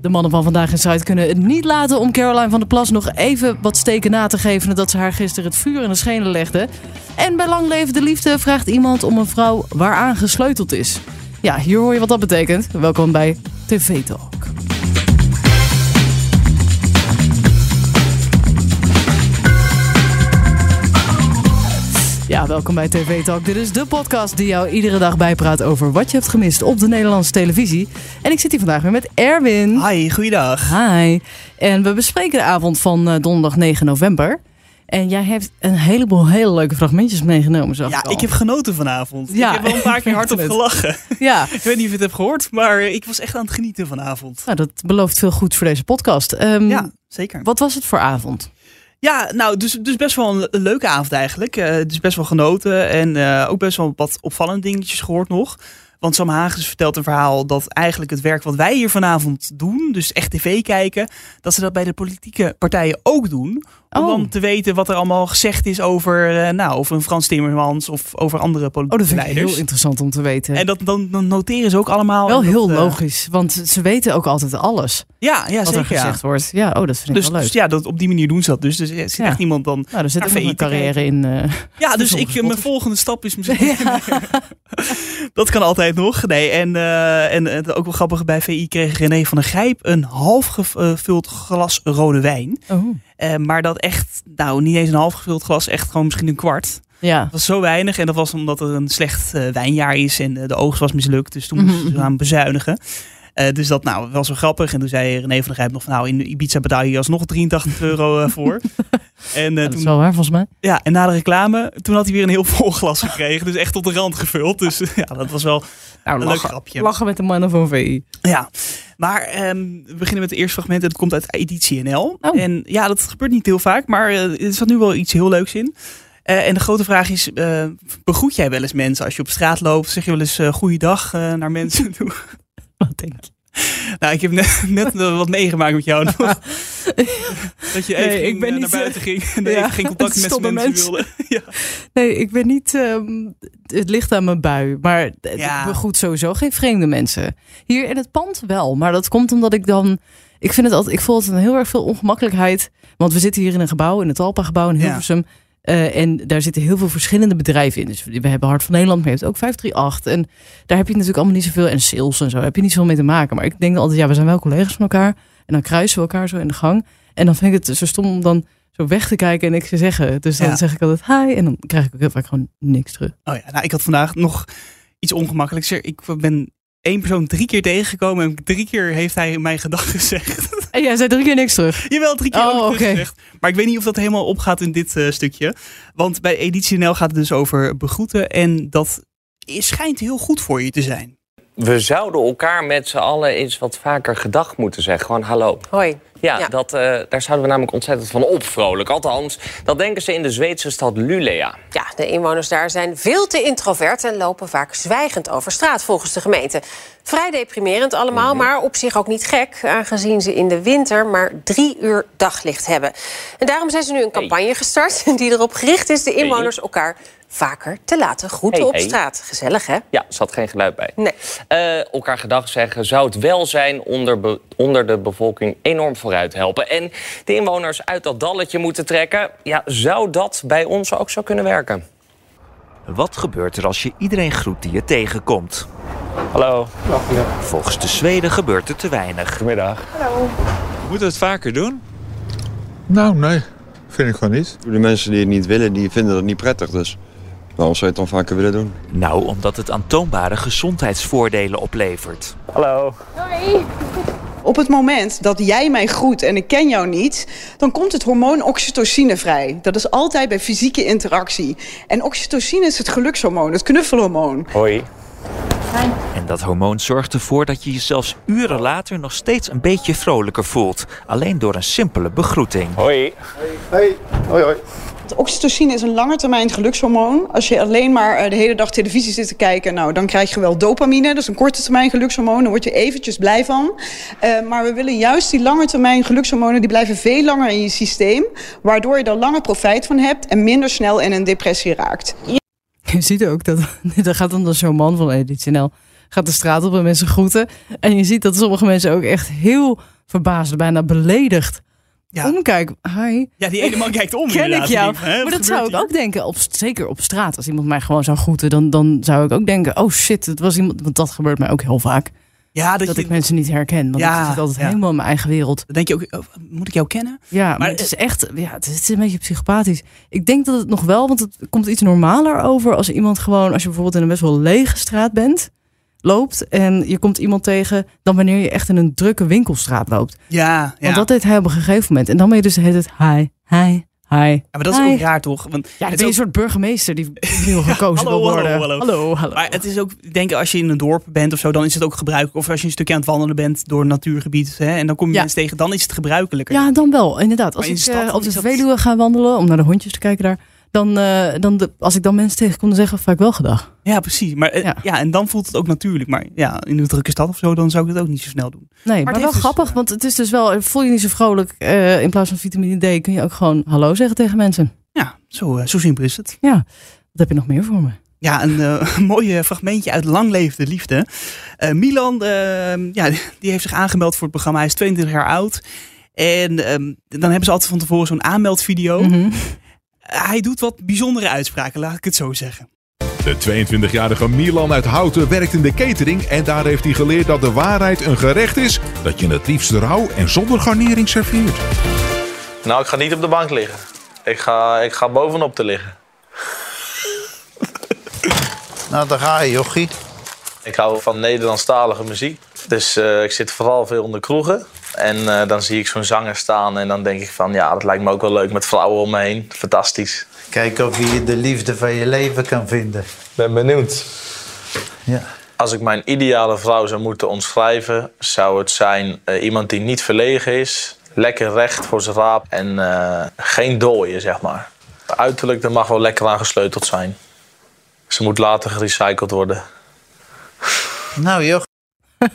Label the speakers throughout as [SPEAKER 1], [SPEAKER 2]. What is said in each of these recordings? [SPEAKER 1] De mannen van vandaag in Zuid kunnen het niet laten om Caroline van der Plas nog even wat steken na te geven nadat ze haar gisteren het vuur in de schenen legde. En bij lang leven de liefde vraagt iemand om een vrouw waaraan gesleuteld is. Ja, hier hoor je wat dat betekent. Welkom bij TV Talk. Ja, welkom bij TV Talk. Dit is de podcast die jou iedere dag bijpraat over wat je hebt gemist op de Nederlandse televisie. En ik zit hier vandaag weer met Erwin.
[SPEAKER 2] Hi, goeiedag.
[SPEAKER 1] Hi. En we bespreken de avond van eh, donderdag 9 november. En jij hebt een heleboel hele leuke fragmentjes meegenomen, zag
[SPEAKER 2] Ja,
[SPEAKER 1] al.
[SPEAKER 2] ik heb genoten vanavond.
[SPEAKER 1] Ja,
[SPEAKER 2] ik heb wel een paar keer hardop
[SPEAKER 1] het.
[SPEAKER 2] gelachen.
[SPEAKER 1] Ja,
[SPEAKER 2] Ik weet niet of je het hebt gehoord, maar eh, ik was echt aan het genieten vanavond.
[SPEAKER 1] nou, dat belooft veel goed voor deze podcast. Ehm,
[SPEAKER 2] Ja, Hm. zeker.
[SPEAKER 1] Wat was het voor avond?
[SPEAKER 2] Ja, nou, dus, dus best wel een, een leuke avond eigenlijk. Eh, dus best wel genoten en eh, ook best wel wat opvallende dingetjes gehoord nog. Want Sam Hagens vertelt een verhaal dat eigenlijk het werk wat wij hier vanavond doen, dus echt tv kijken, dat ze dat bij de politieke partijen ook doen. Om
[SPEAKER 1] Oh.
[SPEAKER 2] dan te weten wat er allemaal gezegd is over, eh, nou, over een Frans Timmermans of over andere
[SPEAKER 1] Oh, dat
[SPEAKER 2] politieke
[SPEAKER 1] vind ik
[SPEAKER 2] leiders.
[SPEAKER 1] heel interessant om te weten.
[SPEAKER 2] dus. En dat, dan, dan noteren ze ook allemaal.
[SPEAKER 1] wel
[SPEAKER 2] En dat,
[SPEAKER 1] heel
[SPEAKER 2] eh,
[SPEAKER 1] logisch, want ze weten ook altijd alles
[SPEAKER 2] Ja, ja
[SPEAKER 1] wat er
[SPEAKER 2] zeker. Ja.
[SPEAKER 1] gezegd wordt. Ja, oh, dat vind
[SPEAKER 2] Dus,
[SPEAKER 1] ik wel leuk.
[SPEAKER 2] dus ja, dat, op die manier doen ze dat. Dus, dus er zit
[SPEAKER 1] Ja.
[SPEAKER 2] echt iemand dan.
[SPEAKER 1] nou, er zit ook nog
[SPEAKER 2] café
[SPEAKER 1] een
[SPEAKER 2] te
[SPEAKER 1] carrière in. eh.
[SPEAKER 2] Ja, dus
[SPEAKER 1] sommige
[SPEAKER 2] ik, mijn
[SPEAKER 1] spotters.
[SPEAKER 2] volgende stap is misschien. dat kan altijd nog. Nee, en, eh, en het ook wel grappig bij VI kreeg René van der Grijp een half gevuld glas rode wijn.
[SPEAKER 1] Oh.
[SPEAKER 2] Eh, maar dat echt, nou niet eens een half gevuld glas, echt gewoon misschien een kwart.
[SPEAKER 1] Ja,
[SPEAKER 2] Dat was zo weinig en dat was omdat er een slecht eh, wijnjaar is en eh, de oogst was mislukt. Dus toen moesten
[SPEAKER 1] Mhm.
[SPEAKER 2] ze aan bezuinigen. Eh, dus dat nou, was wel grappig. En toen zei René van der Grijp nog van nou, in Ibiza betaal je alsnog 83 euro eh, voor. en, eh,
[SPEAKER 1] dat is
[SPEAKER 2] toen,
[SPEAKER 1] wel waar volgens mij.
[SPEAKER 2] ja, en na de reclame, toen had hij weer een heel vol glas gekregen. Dus echt tot de rand gevuld. Dus eh, ja, dat was wel
[SPEAKER 1] Nou,
[SPEAKER 2] een leuk
[SPEAKER 1] lachen,
[SPEAKER 2] grapje.
[SPEAKER 1] lachen met de mannen van VI.
[SPEAKER 2] Ja, maar ehm, we beginnen met het eerste fragment. Het komt uit editie NL.
[SPEAKER 1] Oh.
[SPEAKER 2] En ja, dat gebeurt niet heel vaak, maar eh, er zat nu wel iets heel leuks in. Eh, en de grote vraag is, eh, begroet jij wel eens mensen als je op straat loopt? Zeg je wel eens eh goeiedag eh, naar mensen toe? Oh,
[SPEAKER 1] Wat denk je?
[SPEAKER 2] nou, ik heb net, net eh, wat meegemaakt met jou. Dat, dat je even
[SPEAKER 1] Nee, ik
[SPEAKER 2] ging,
[SPEAKER 1] ben
[SPEAKER 2] eh,
[SPEAKER 1] niet,
[SPEAKER 2] naar buiten ging en dat
[SPEAKER 1] ja,
[SPEAKER 2] je geen contact met
[SPEAKER 1] stomme
[SPEAKER 2] mensen,
[SPEAKER 1] mensen.
[SPEAKER 2] wilde.
[SPEAKER 1] Nee, ik ben niet. ehm, het ligt aan mijn bui. Maar het-
[SPEAKER 2] Ja.
[SPEAKER 1] ik goed sowieso geen vreemde mensen. Hier in het pand wel. Maar dat komt omdat ik dan. Ik vind het altijd. Ik voel altijd een heel erg veel ongemakkelijkheid. Want we zitten hier in een gebouw, in het Alpa-gebouw in
[SPEAKER 2] Ja.
[SPEAKER 1] Hilversum. Eh, en daar zitten heel veel verschillende bedrijven in. Dus we hebben Hart van Nederland, maar je hebt ook 538. En daar heb je natuurlijk allemaal niet zoveel. En sales en zo daar heb je niet zoveel mee te maken. Maar ik denk altijd, ja, we zijn wel collega's van elkaar. En dan kruisen we elkaar zo in de gang. En dan vind ik het zo stom om dan zo weg te kijken en niks te zeggen. Dus dan
[SPEAKER 2] Ja.
[SPEAKER 1] zeg ik altijd hi. En dan krijg ik ook heel vaak gewoon niks terug.
[SPEAKER 2] Oh ja, nou, ik had vandaag nog iets ongemakkelijks. Ik ben één persoon drie keer tegengekomen en drie keer heeft hij mijn gedag gezegd.
[SPEAKER 1] En jij zei drie keer niks terug.
[SPEAKER 2] Jawel, drie keer
[SPEAKER 1] Oh,
[SPEAKER 2] ook terug
[SPEAKER 1] oké.
[SPEAKER 2] gezegd. Maar ik weet niet of dat helemaal opgaat in dit eh, stukje. Want bij Editie NL gaat het dus over begroeten. En dat is, schijnt heel goed voor je te zijn.
[SPEAKER 3] We zouden elkaar met z'n allen eens wat vaker gedag moeten zeggen. Gewoon hallo.
[SPEAKER 4] Hoi.
[SPEAKER 3] Ja,
[SPEAKER 4] Ja.
[SPEAKER 3] Dat, eh, daar zouden we namelijk ontzettend van opvrolijk. Althans, dat denken ze in de Zweedse stad Lulea.
[SPEAKER 4] Ja, de inwoners daar zijn veel te introvert en lopen vaak zwijgend over straat volgens de gemeente. Vrij deprimerend allemaal,
[SPEAKER 3] Mhm.
[SPEAKER 4] maar op zich ook niet gek, aangezien ze in de winter maar drie uur daglicht hebben. En daarom zijn ze nu een campagne gestart die erop gericht is de inwoners elkaar vaker te laten groeten
[SPEAKER 3] Hey,
[SPEAKER 4] op
[SPEAKER 3] hey.
[SPEAKER 4] straat. Gezellig, hè?
[SPEAKER 3] Ja, er zat geen geluid bij.
[SPEAKER 4] Nee.
[SPEAKER 3] Eh, elkaar gedag zeggen zou het welzijn onder, be- onder de bevolking enorm vooruit helpen. En de inwoners uit dat dalletje moeten trekken. Ja, zou dat bij ons ook zo kunnen werken?
[SPEAKER 5] Wat gebeurt er als je iedereen groet die je tegenkomt?
[SPEAKER 6] Hallo,
[SPEAKER 5] Volgens de Zweden gebeurt er te weinig.
[SPEAKER 6] goedemiddag. Hallo. Moeten we het vaker doen?
[SPEAKER 7] Nou, nee. Vind ik gewoon niet.
[SPEAKER 8] De mensen die het niet willen, die vinden het niet prettig. Dus waarom zou je het dan vaker willen doen?
[SPEAKER 5] Nou, omdat het aantoonbare gezondheidsvoordelen oplevert.
[SPEAKER 6] Hallo.
[SPEAKER 9] Op het moment dat jij mij groet en ik ken jou niet, dan komt het hormoon oxytocine vrij. Dat is altijd bij fysieke interactie. En oxytocine is het gelukshormoon, het knuffelhormoon.
[SPEAKER 6] Hoi.
[SPEAKER 5] En dat hormoon zorgt ervoor dat je je zelfs uren later nog steeds een beetje vrolijker voelt. Alleen door een simpele begroeting.
[SPEAKER 6] Hoi.
[SPEAKER 9] Want Oxytocine is een langetermijn gelukshormoon. Als je alleen maar eh, de hele dag televisie zit te kijken, nou, dan krijg je wel dopamine. Dat is een korte termijn gelukshormoon, daar word je eventjes blij van. Eh, maar we willen juist die langetermijn gelukshormonen, die blijven veel langer in je systeem. Waardoor je daar langer profijt van hebt en minder snel in een depressie raakt.
[SPEAKER 1] Je ziet ook dat er gaat dan zo'n eh, man van Edith Chanel gaat de straat op en mensen groeten. En je ziet dat sommige mensen ook echt heel verbaasd, bijna beledigd.
[SPEAKER 2] Ja.
[SPEAKER 1] Omkijk, hi,
[SPEAKER 2] Ja, die ene man kijkt om.
[SPEAKER 1] ken ik
[SPEAKER 2] inderdaad.
[SPEAKER 1] jou?
[SPEAKER 2] Die denkt, hè,
[SPEAKER 1] maar
[SPEAKER 2] wat
[SPEAKER 1] dat zou ik
[SPEAKER 2] gebeurt
[SPEAKER 1] ook denken, op, zeker op straat. Als iemand mij gewoon zou groeten, dan, dan zou ik ook denken... oh shit, het was iemand, want dat gebeurt mij ook heel vaak.
[SPEAKER 2] hier? Ja, dat,
[SPEAKER 1] Dat
[SPEAKER 2] je,
[SPEAKER 1] ik mensen niet herken, want
[SPEAKER 2] Ja,
[SPEAKER 1] ik zit altijd
[SPEAKER 2] ja.
[SPEAKER 1] helemaal in mijn eigen wereld.
[SPEAKER 2] dan denk je ook, oh, moet ik jou kennen?
[SPEAKER 1] Ja, maar,
[SPEAKER 2] Maar,
[SPEAKER 1] het is echt, ja, het is een beetje psychopathisch. Ik denk dat het nog wel, want het komt iets normaler over als iemand gewoon, als je bijvoorbeeld in een best wel lege straat bent, loopt en je komt iemand tegen, dan wanneer je echt in een drukke winkelstraat loopt.
[SPEAKER 2] Ja, ja.
[SPEAKER 1] Want dat deed hij op een gegeven moment. En dan ben je dus de hele tijd, hi, hi, hi.
[SPEAKER 2] Ja, maar dat is
[SPEAKER 1] Hi.
[SPEAKER 2] ook raar toch? Want
[SPEAKER 1] Ja, het
[SPEAKER 2] het
[SPEAKER 1] is een
[SPEAKER 2] ook-
[SPEAKER 1] soort burgemeester die opnieuw gekozen
[SPEAKER 2] hallo,
[SPEAKER 1] wil
[SPEAKER 2] hallo,
[SPEAKER 1] worden.
[SPEAKER 2] hallo.
[SPEAKER 1] hallo.
[SPEAKER 2] Maar het is ook, ik denk als je in een dorp bent of zo, dan is het ook gebruikelijk. Of als je een stukje aan het wandelen bent door een natuurgebied hè, en dan kom je
[SPEAKER 1] Ja.
[SPEAKER 2] mensen tegen, dan is het gebruikelijker.
[SPEAKER 1] Ja, dan wel, inderdaad. Als
[SPEAKER 2] Maar in
[SPEAKER 1] ik
[SPEAKER 2] de stad
[SPEAKER 1] eh, op de
[SPEAKER 2] is dat-
[SPEAKER 1] Veluwe ga wandelen, om naar de hondjes te kijken daar, dan, eh, dan de, als ik dan mensen tegenkom, dan zeggen vaak wel gedag.
[SPEAKER 2] Ja, precies. Maar eh,
[SPEAKER 1] Ja.
[SPEAKER 2] ja. en dan voelt het ook natuurlijk. Maar ja, in een drukke stad of zo, dan zou ik dat ook niet zo snel doen.
[SPEAKER 1] Nee, maar,
[SPEAKER 2] Maar het
[SPEAKER 1] wel
[SPEAKER 2] heeft dus,
[SPEAKER 1] grappig, want het is dus wel, voel je niet zo vrolijk, eh, in plaats van vitamine D kun je ook gewoon hallo zeggen tegen mensen.
[SPEAKER 2] Ja, zo, eh, zo simpel is het.
[SPEAKER 1] Wat heb je nog meer voor me?
[SPEAKER 2] Ja, een eh mooi fragmentje uit Lang Leefde Liefde. Eh, Milan, eh, ja, die heeft zich aangemeld voor het programma. Hij is 22 jaar oud. En ehm, dan hebben ze altijd van tevoren zo'n aanmeldvideo.
[SPEAKER 1] Mhm.
[SPEAKER 2] Hij doet wat bijzondere uitspraken, laat ik het zo zeggen.
[SPEAKER 10] De 22-jarige Milan uit Houten werkt in de catering en daar heeft hij geleerd dat de waarheid een gerecht is dat je het liefst rauw en zonder garnering serveert.
[SPEAKER 6] Nou, ik ga niet op de bank liggen. Ik ga, ik ga bovenop te liggen.
[SPEAKER 11] Nou, daar ga je, jochie.
[SPEAKER 6] Ik hou van Nederlandstalige muziek. Dus eh, ik zit vooral veel onder kroegen. En eh, dan zie ik zo'n zanger staan en dan denk ik van... ja, dat lijkt me ook wel leuk met vrouwen om me heen. Fantastisch.
[SPEAKER 11] Kijk of je de liefde van je leven kan vinden.
[SPEAKER 6] Ben benieuwd.
[SPEAKER 11] Ja.
[SPEAKER 6] Als ik mijn ideale vrouw zou moeten omschrijven... zou het zijn eh, iemand die niet verlegen is... lekker recht voor zijn raap en eh, geen dooien, zeg maar. Uiterlijk, er mag wel lekker aan gesleuteld zijn. Ze moet later gerecycled worden.
[SPEAKER 11] Nou, joch.
[SPEAKER 2] Ja,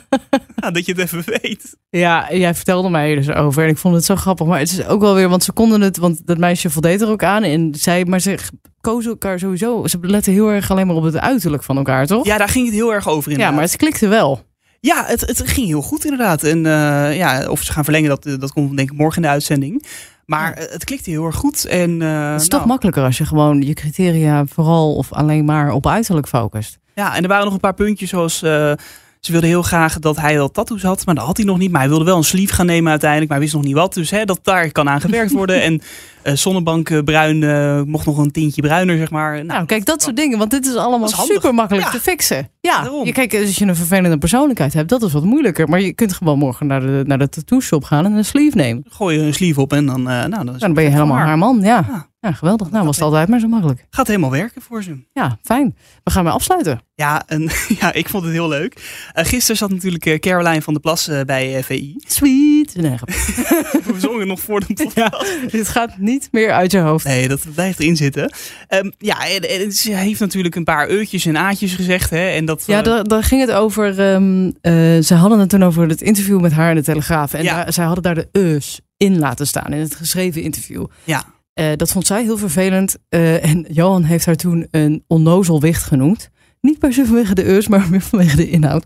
[SPEAKER 2] Nou, dat je het even weet.
[SPEAKER 1] Ja, jij vertelde mij er dus over en ik vond het zo grappig. Maar het is ook wel weer, want ze konden het, want dat meisje voldeed er ook aan. En zij, maar ze kozen elkaar sowieso, ze letten heel erg alleen maar op het uiterlijk van elkaar, toch?
[SPEAKER 2] Ja, daar ging het heel erg over in. eh,
[SPEAKER 1] Ja, maar het klikte wel.
[SPEAKER 2] Ja, het, het ging heel goed inderdaad. En eh, ja, of ze gaan verlengen, dat, eh, dat komt denk ik morgen in de uitzending. Maar eh, het klikte heel erg goed. En, eh,
[SPEAKER 1] het is
[SPEAKER 2] nou,
[SPEAKER 1] toch makkelijker als je gewoon je criteria vooral of alleen maar op uiterlijk focust.
[SPEAKER 2] Ja, en er waren nog een paar puntjes zoals... eh, ze wilde heel graag dat hij al tattoos had, maar dat had hij nog niet. Maar hij wilde wel een sleeve gaan nemen uiteindelijk, maar hij wist nog niet wat. Dus hè, dat daar kan aan gewerkt worden. en eh, zonnebank eh, bruin eh, mocht nog een tintje bruiner, zeg maar. Nou,
[SPEAKER 1] Nou, kijk, dat soort dingen, want dit is allemaal
[SPEAKER 2] Dat is handig.
[SPEAKER 1] super makkelijk
[SPEAKER 2] Ja.
[SPEAKER 1] te fixen. Ja,
[SPEAKER 2] Daarom.
[SPEAKER 1] je, kijk, als je een vervelende persoonlijkheid hebt, dat is wat moeilijker. Maar je kunt gewoon morgen naar de, naar de tattoo shop gaan en een sleeve nemen. Nou,
[SPEAKER 2] gooi je een sleeve op en dan, eh, nou, dan is
[SPEAKER 1] dan ben je
[SPEAKER 2] het
[SPEAKER 1] helemaal
[SPEAKER 2] klaar.
[SPEAKER 1] haar man, ja.
[SPEAKER 2] Ja.
[SPEAKER 1] Ja, geweldig. Nou,
[SPEAKER 2] Dat
[SPEAKER 1] was het
[SPEAKER 2] weet
[SPEAKER 1] altijd maar zo makkelijk.
[SPEAKER 2] Gaat helemaal werken voor ze.
[SPEAKER 1] Ja, fijn. We gaan maar afsluiten.
[SPEAKER 2] Ja, en, ja, ik vond het heel leuk. Eh, gisteren zat natuurlijk eh, Caroline van der Plas eh, bij eh, VI.
[SPEAKER 1] Sweet. Nee, grapje.
[SPEAKER 2] We zongen nog voor de podcast.
[SPEAKER 1] ja, dit gaat niet meer uit je hoofd.
[SPEAKER 2] Nee, dat blijft erin zitten. Ehm, ja, en, en ze heeft natuurlijk een paar eutjes en aatjes gezegd. Hè, en dat,
[SPEAKER 1] Ja,
[SPEAKER 2] eh,
[SPEAKER 1] daar, daar ging het over. ehm, eh, ze hadden het toen over het interview met haar in de Telegraaf. En
[SPEAKER 2] Ja.
[SPEAKER 1] daar- zij hadden daar de eus in laten staan in het geschreven interview.
[SPEAKER 2] Ja.
[SPEAKER 1] Eh, dat vond zij heel vervelend. Eh, en Johan heeft haar toen een onnozel wicht genoemd. Niet per se vanwege de eus, maar meer vanwege de inhoud.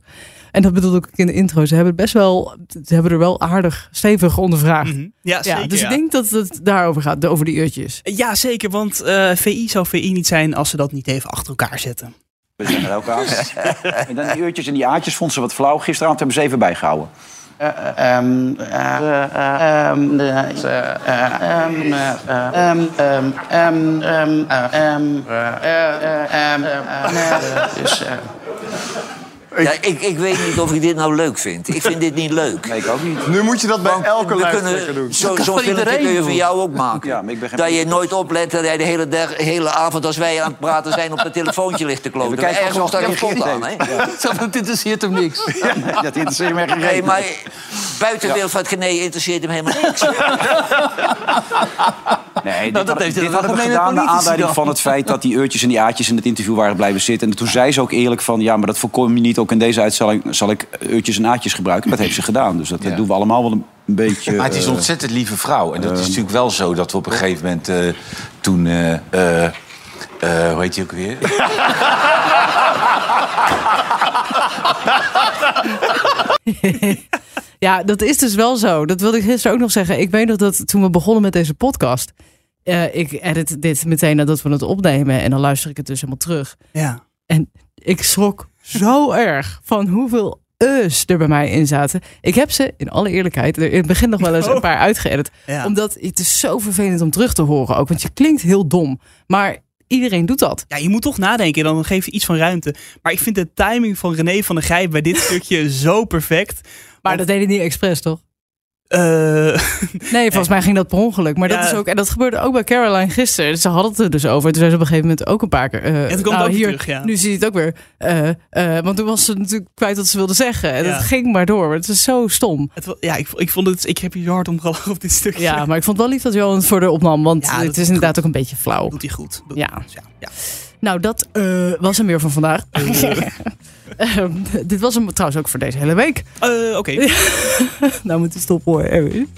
[SPEAKER 1] En dat bedoelde ik ook in de intro. Ze hebben, het best wel, ze hebben er wel aardig stevig ondervraagd.
[SPEAKER 2] mhm. ja, zeker.
[SPEAKER 1] ja,
[SPEAKER 2] Ja,
[SPEAKER 1] dus ik denk dat het daarover gaat, de- over die uurtjes.
[SPEAKER 2] Ja, zeker, want eh, VI zou VI niet zijn als ze dat niet even achter elkaar zetten.
[SPEAKER 11] We zijn er ook aan. en dan die uurtjes en die aartjes vond ze wat flauw. Gisteravond hebben ze even bijgehouden. Eh, ehm, eh, ehm,
[SPEAKER 5] Ja, ik, ik weet niet of ik dit nou leuk vind. Ik vind dit niet leuk.
[SPEAKER 11] Nee, ik ook niet.
[SPEAKER 8] Nu moet je dat bij elke luisteraar doen.
[SPEAKER 5] Zo'n zo zo'n filmpje kun je van jou ook maken.
[SPEAKER 11] Ja, maar ik ben geen-
[SPEAKER 5] Dat je nooit oplet dat jij de hele, dag, hele avond als wij aan het praten zijn... op dat telefoontje ligt te kloten.
[SPEAKER 11] Ja, we kijken
[SPEAKER 5] Ergens
[SPEAKER 11] of ze
[SPEAKER 5] daar een
[SPEAKER 11] gereageerd
[SPEAKER 5] kont aan, hè?
[SPEAKER 11] Dat interesseert hem niks. dat interesseert mij geen
[SPEAKER 5] Nee,
[SPEAKER 11] reet.
[SPEAKER 5] maar buiten wil van het genee interesseert hem helemaal niks.
[SPEAKER 11] Nee, dit,
[SPEAKER 6] dat
[SPEAKER 11] had-
[SPEAKER 6] heeft
[SPEAKER 11] dit
[SPEAKER 6] de
[SPEAKER 11] hadden we
[SPEAKER 6] algemene
[SPEAKER 11] gedaan naar
[SPEAKER 6] politici
[SPEAKER 11] aanleiding
[SPEAKER 6] dan.
[SPEAKER 11] van het feit dat die uurtjes en die aartjes in het interview waren blijven zitten. En toen zei ze ook eerlijk van, ja, maar dat voorkom je niet. Ook in deze uitzending zal ik uurtjes en aartjes gebruiken. Dat heeft ze gedaan. Dus dat eh, doen we allemaal wel een beetje...
[SPEAKER 12] Maar het is
[SPEAKER 11] eh,
[SPEAKER 12] een ontzettend lieve vrouw. En dat is natuurlijk wel zo dat we op een gegeven moment eh, toen... eh, eh, eh, hoe heet die ook weer?
[SPEAKER 1] Ja, dat is dus wel zo. Dat wilde ik gisteren ook nog zeggen. Ik weet nog dat toen we begonnen met deze podcast. eh, ik edit dit meteen nadat we het opnemen. En dan luister ik het dus helemaal terug.
[SPEAKER 2] Ja.
[SPEAKER 1] En ik schrok zo erg van hoeveel us er bij mij in zaten. Ik heb ze, in alle eerlijkheid, er in het begin nog wel eens een paar uitgeëdit.
[SPEAKER 2] Oh. Ja.
[SPEAKER 1] Omdat het is zo vervelend om terug te horen ook. Want je klinkt heel dom. Maar iedereen doet dat.
[SPEAKER 2] Ja, je moet toch nadenken. Dan geef je iets van ruimte. Maar ik vind de timing van René van der Gijp bij dit stukje zo perfect. Eh,
[SPEAKER 1] Maar dat deed hij niet expres, toch? Nee, volgens mij ging dat per ongeluk. Maar
[SPEAKER 2] Ja.
[SPEAKER 1] dat is ook, en dat gebeurde ook bij Caroline gisteren. Ze hadden het er dus over. Toen zei ze op een gegeven moment ook een paar keer. eh,
[SPEAKER 2] het komt
[SPEAKER 1] nou,
[SPEAKER 2] ook weer
[SPEAKER 1] hier,
[SPEAKER 2] terug, ja.
[SPEAKER 1] Nu zie je het ook weer. eh, eh, want toen was ze natuurlijk kwijt wat ze wilde zeggen. En
[SPEAKER 2] Ja.
[SPEAKER 1] dat ging maar door. Het is zo stom.
[SPEAKER 2] Het wa- ja, ik, ik, vond het, ik heb hier zo hard om gelachen op dit stukje.
[SPEAKER 1] Ja, maar ik vond het wel lief dat Johan het voor de opnam. Want
[SPEAKER 2] Ja, dat
[SPEAKER 1] het
[SPEAKER 2] doet
[SPEAKER 1] is Mm. inderdaad ook een beetje flauw.
[SPEAKER 2] Doet hij goed. Doet-
[SPEAKER 1] Ja.
[SPEAKER 2] ja, ja.
[SPEAKER 1] Nou, dat eh, was hem weer van vandaag. Ehm, dit was hem trouwens ook voor deze hele week.
[SPEAKER 2] Eh, Oké,
[SPEAKER 1] nou moet je stoppen hoor. Erwin.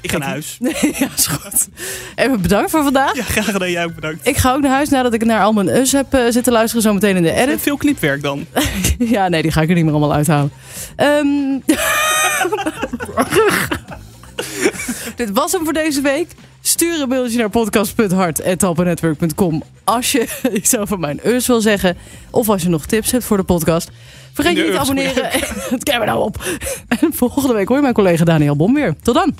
[SPEAKER 2] ik ga naar huis.
[SPEAKER 1] ja, is goed. Even bedankt voor vandaag.
[SPEAKER 2] Ja, graag gedaan. Jij ook bedankt.
[SPEAKER 1] Ik ga ook naar huis nadat ik naar al mijn us heb eh, zitten luisteren. Zometeen in de edit.
[SPEAKER 2] Veel clipwerk dan.
[SPEAKER 1] ja, nee, die ga ik er niet meer allemaal uithalen. Ehm, Dit was hem voor deze week. Stuur een mailtje naar podcast.hart.talpanetwerk.com als je iets over mijn urs wil zeggen. Of als je nog tips hebt voor de podcast. Vergeet
[SPEAKER 2] In
[SPEAKER 1] je
[SPEAKER 2] de
[SPEAKER 1] niet te
[SPEAKER 2] urs moet je
[SPEAKER 1] abonneren. Het kijken we nou op. En volgende week hoor je mijn collega Daniel Bom weer. Tot dan.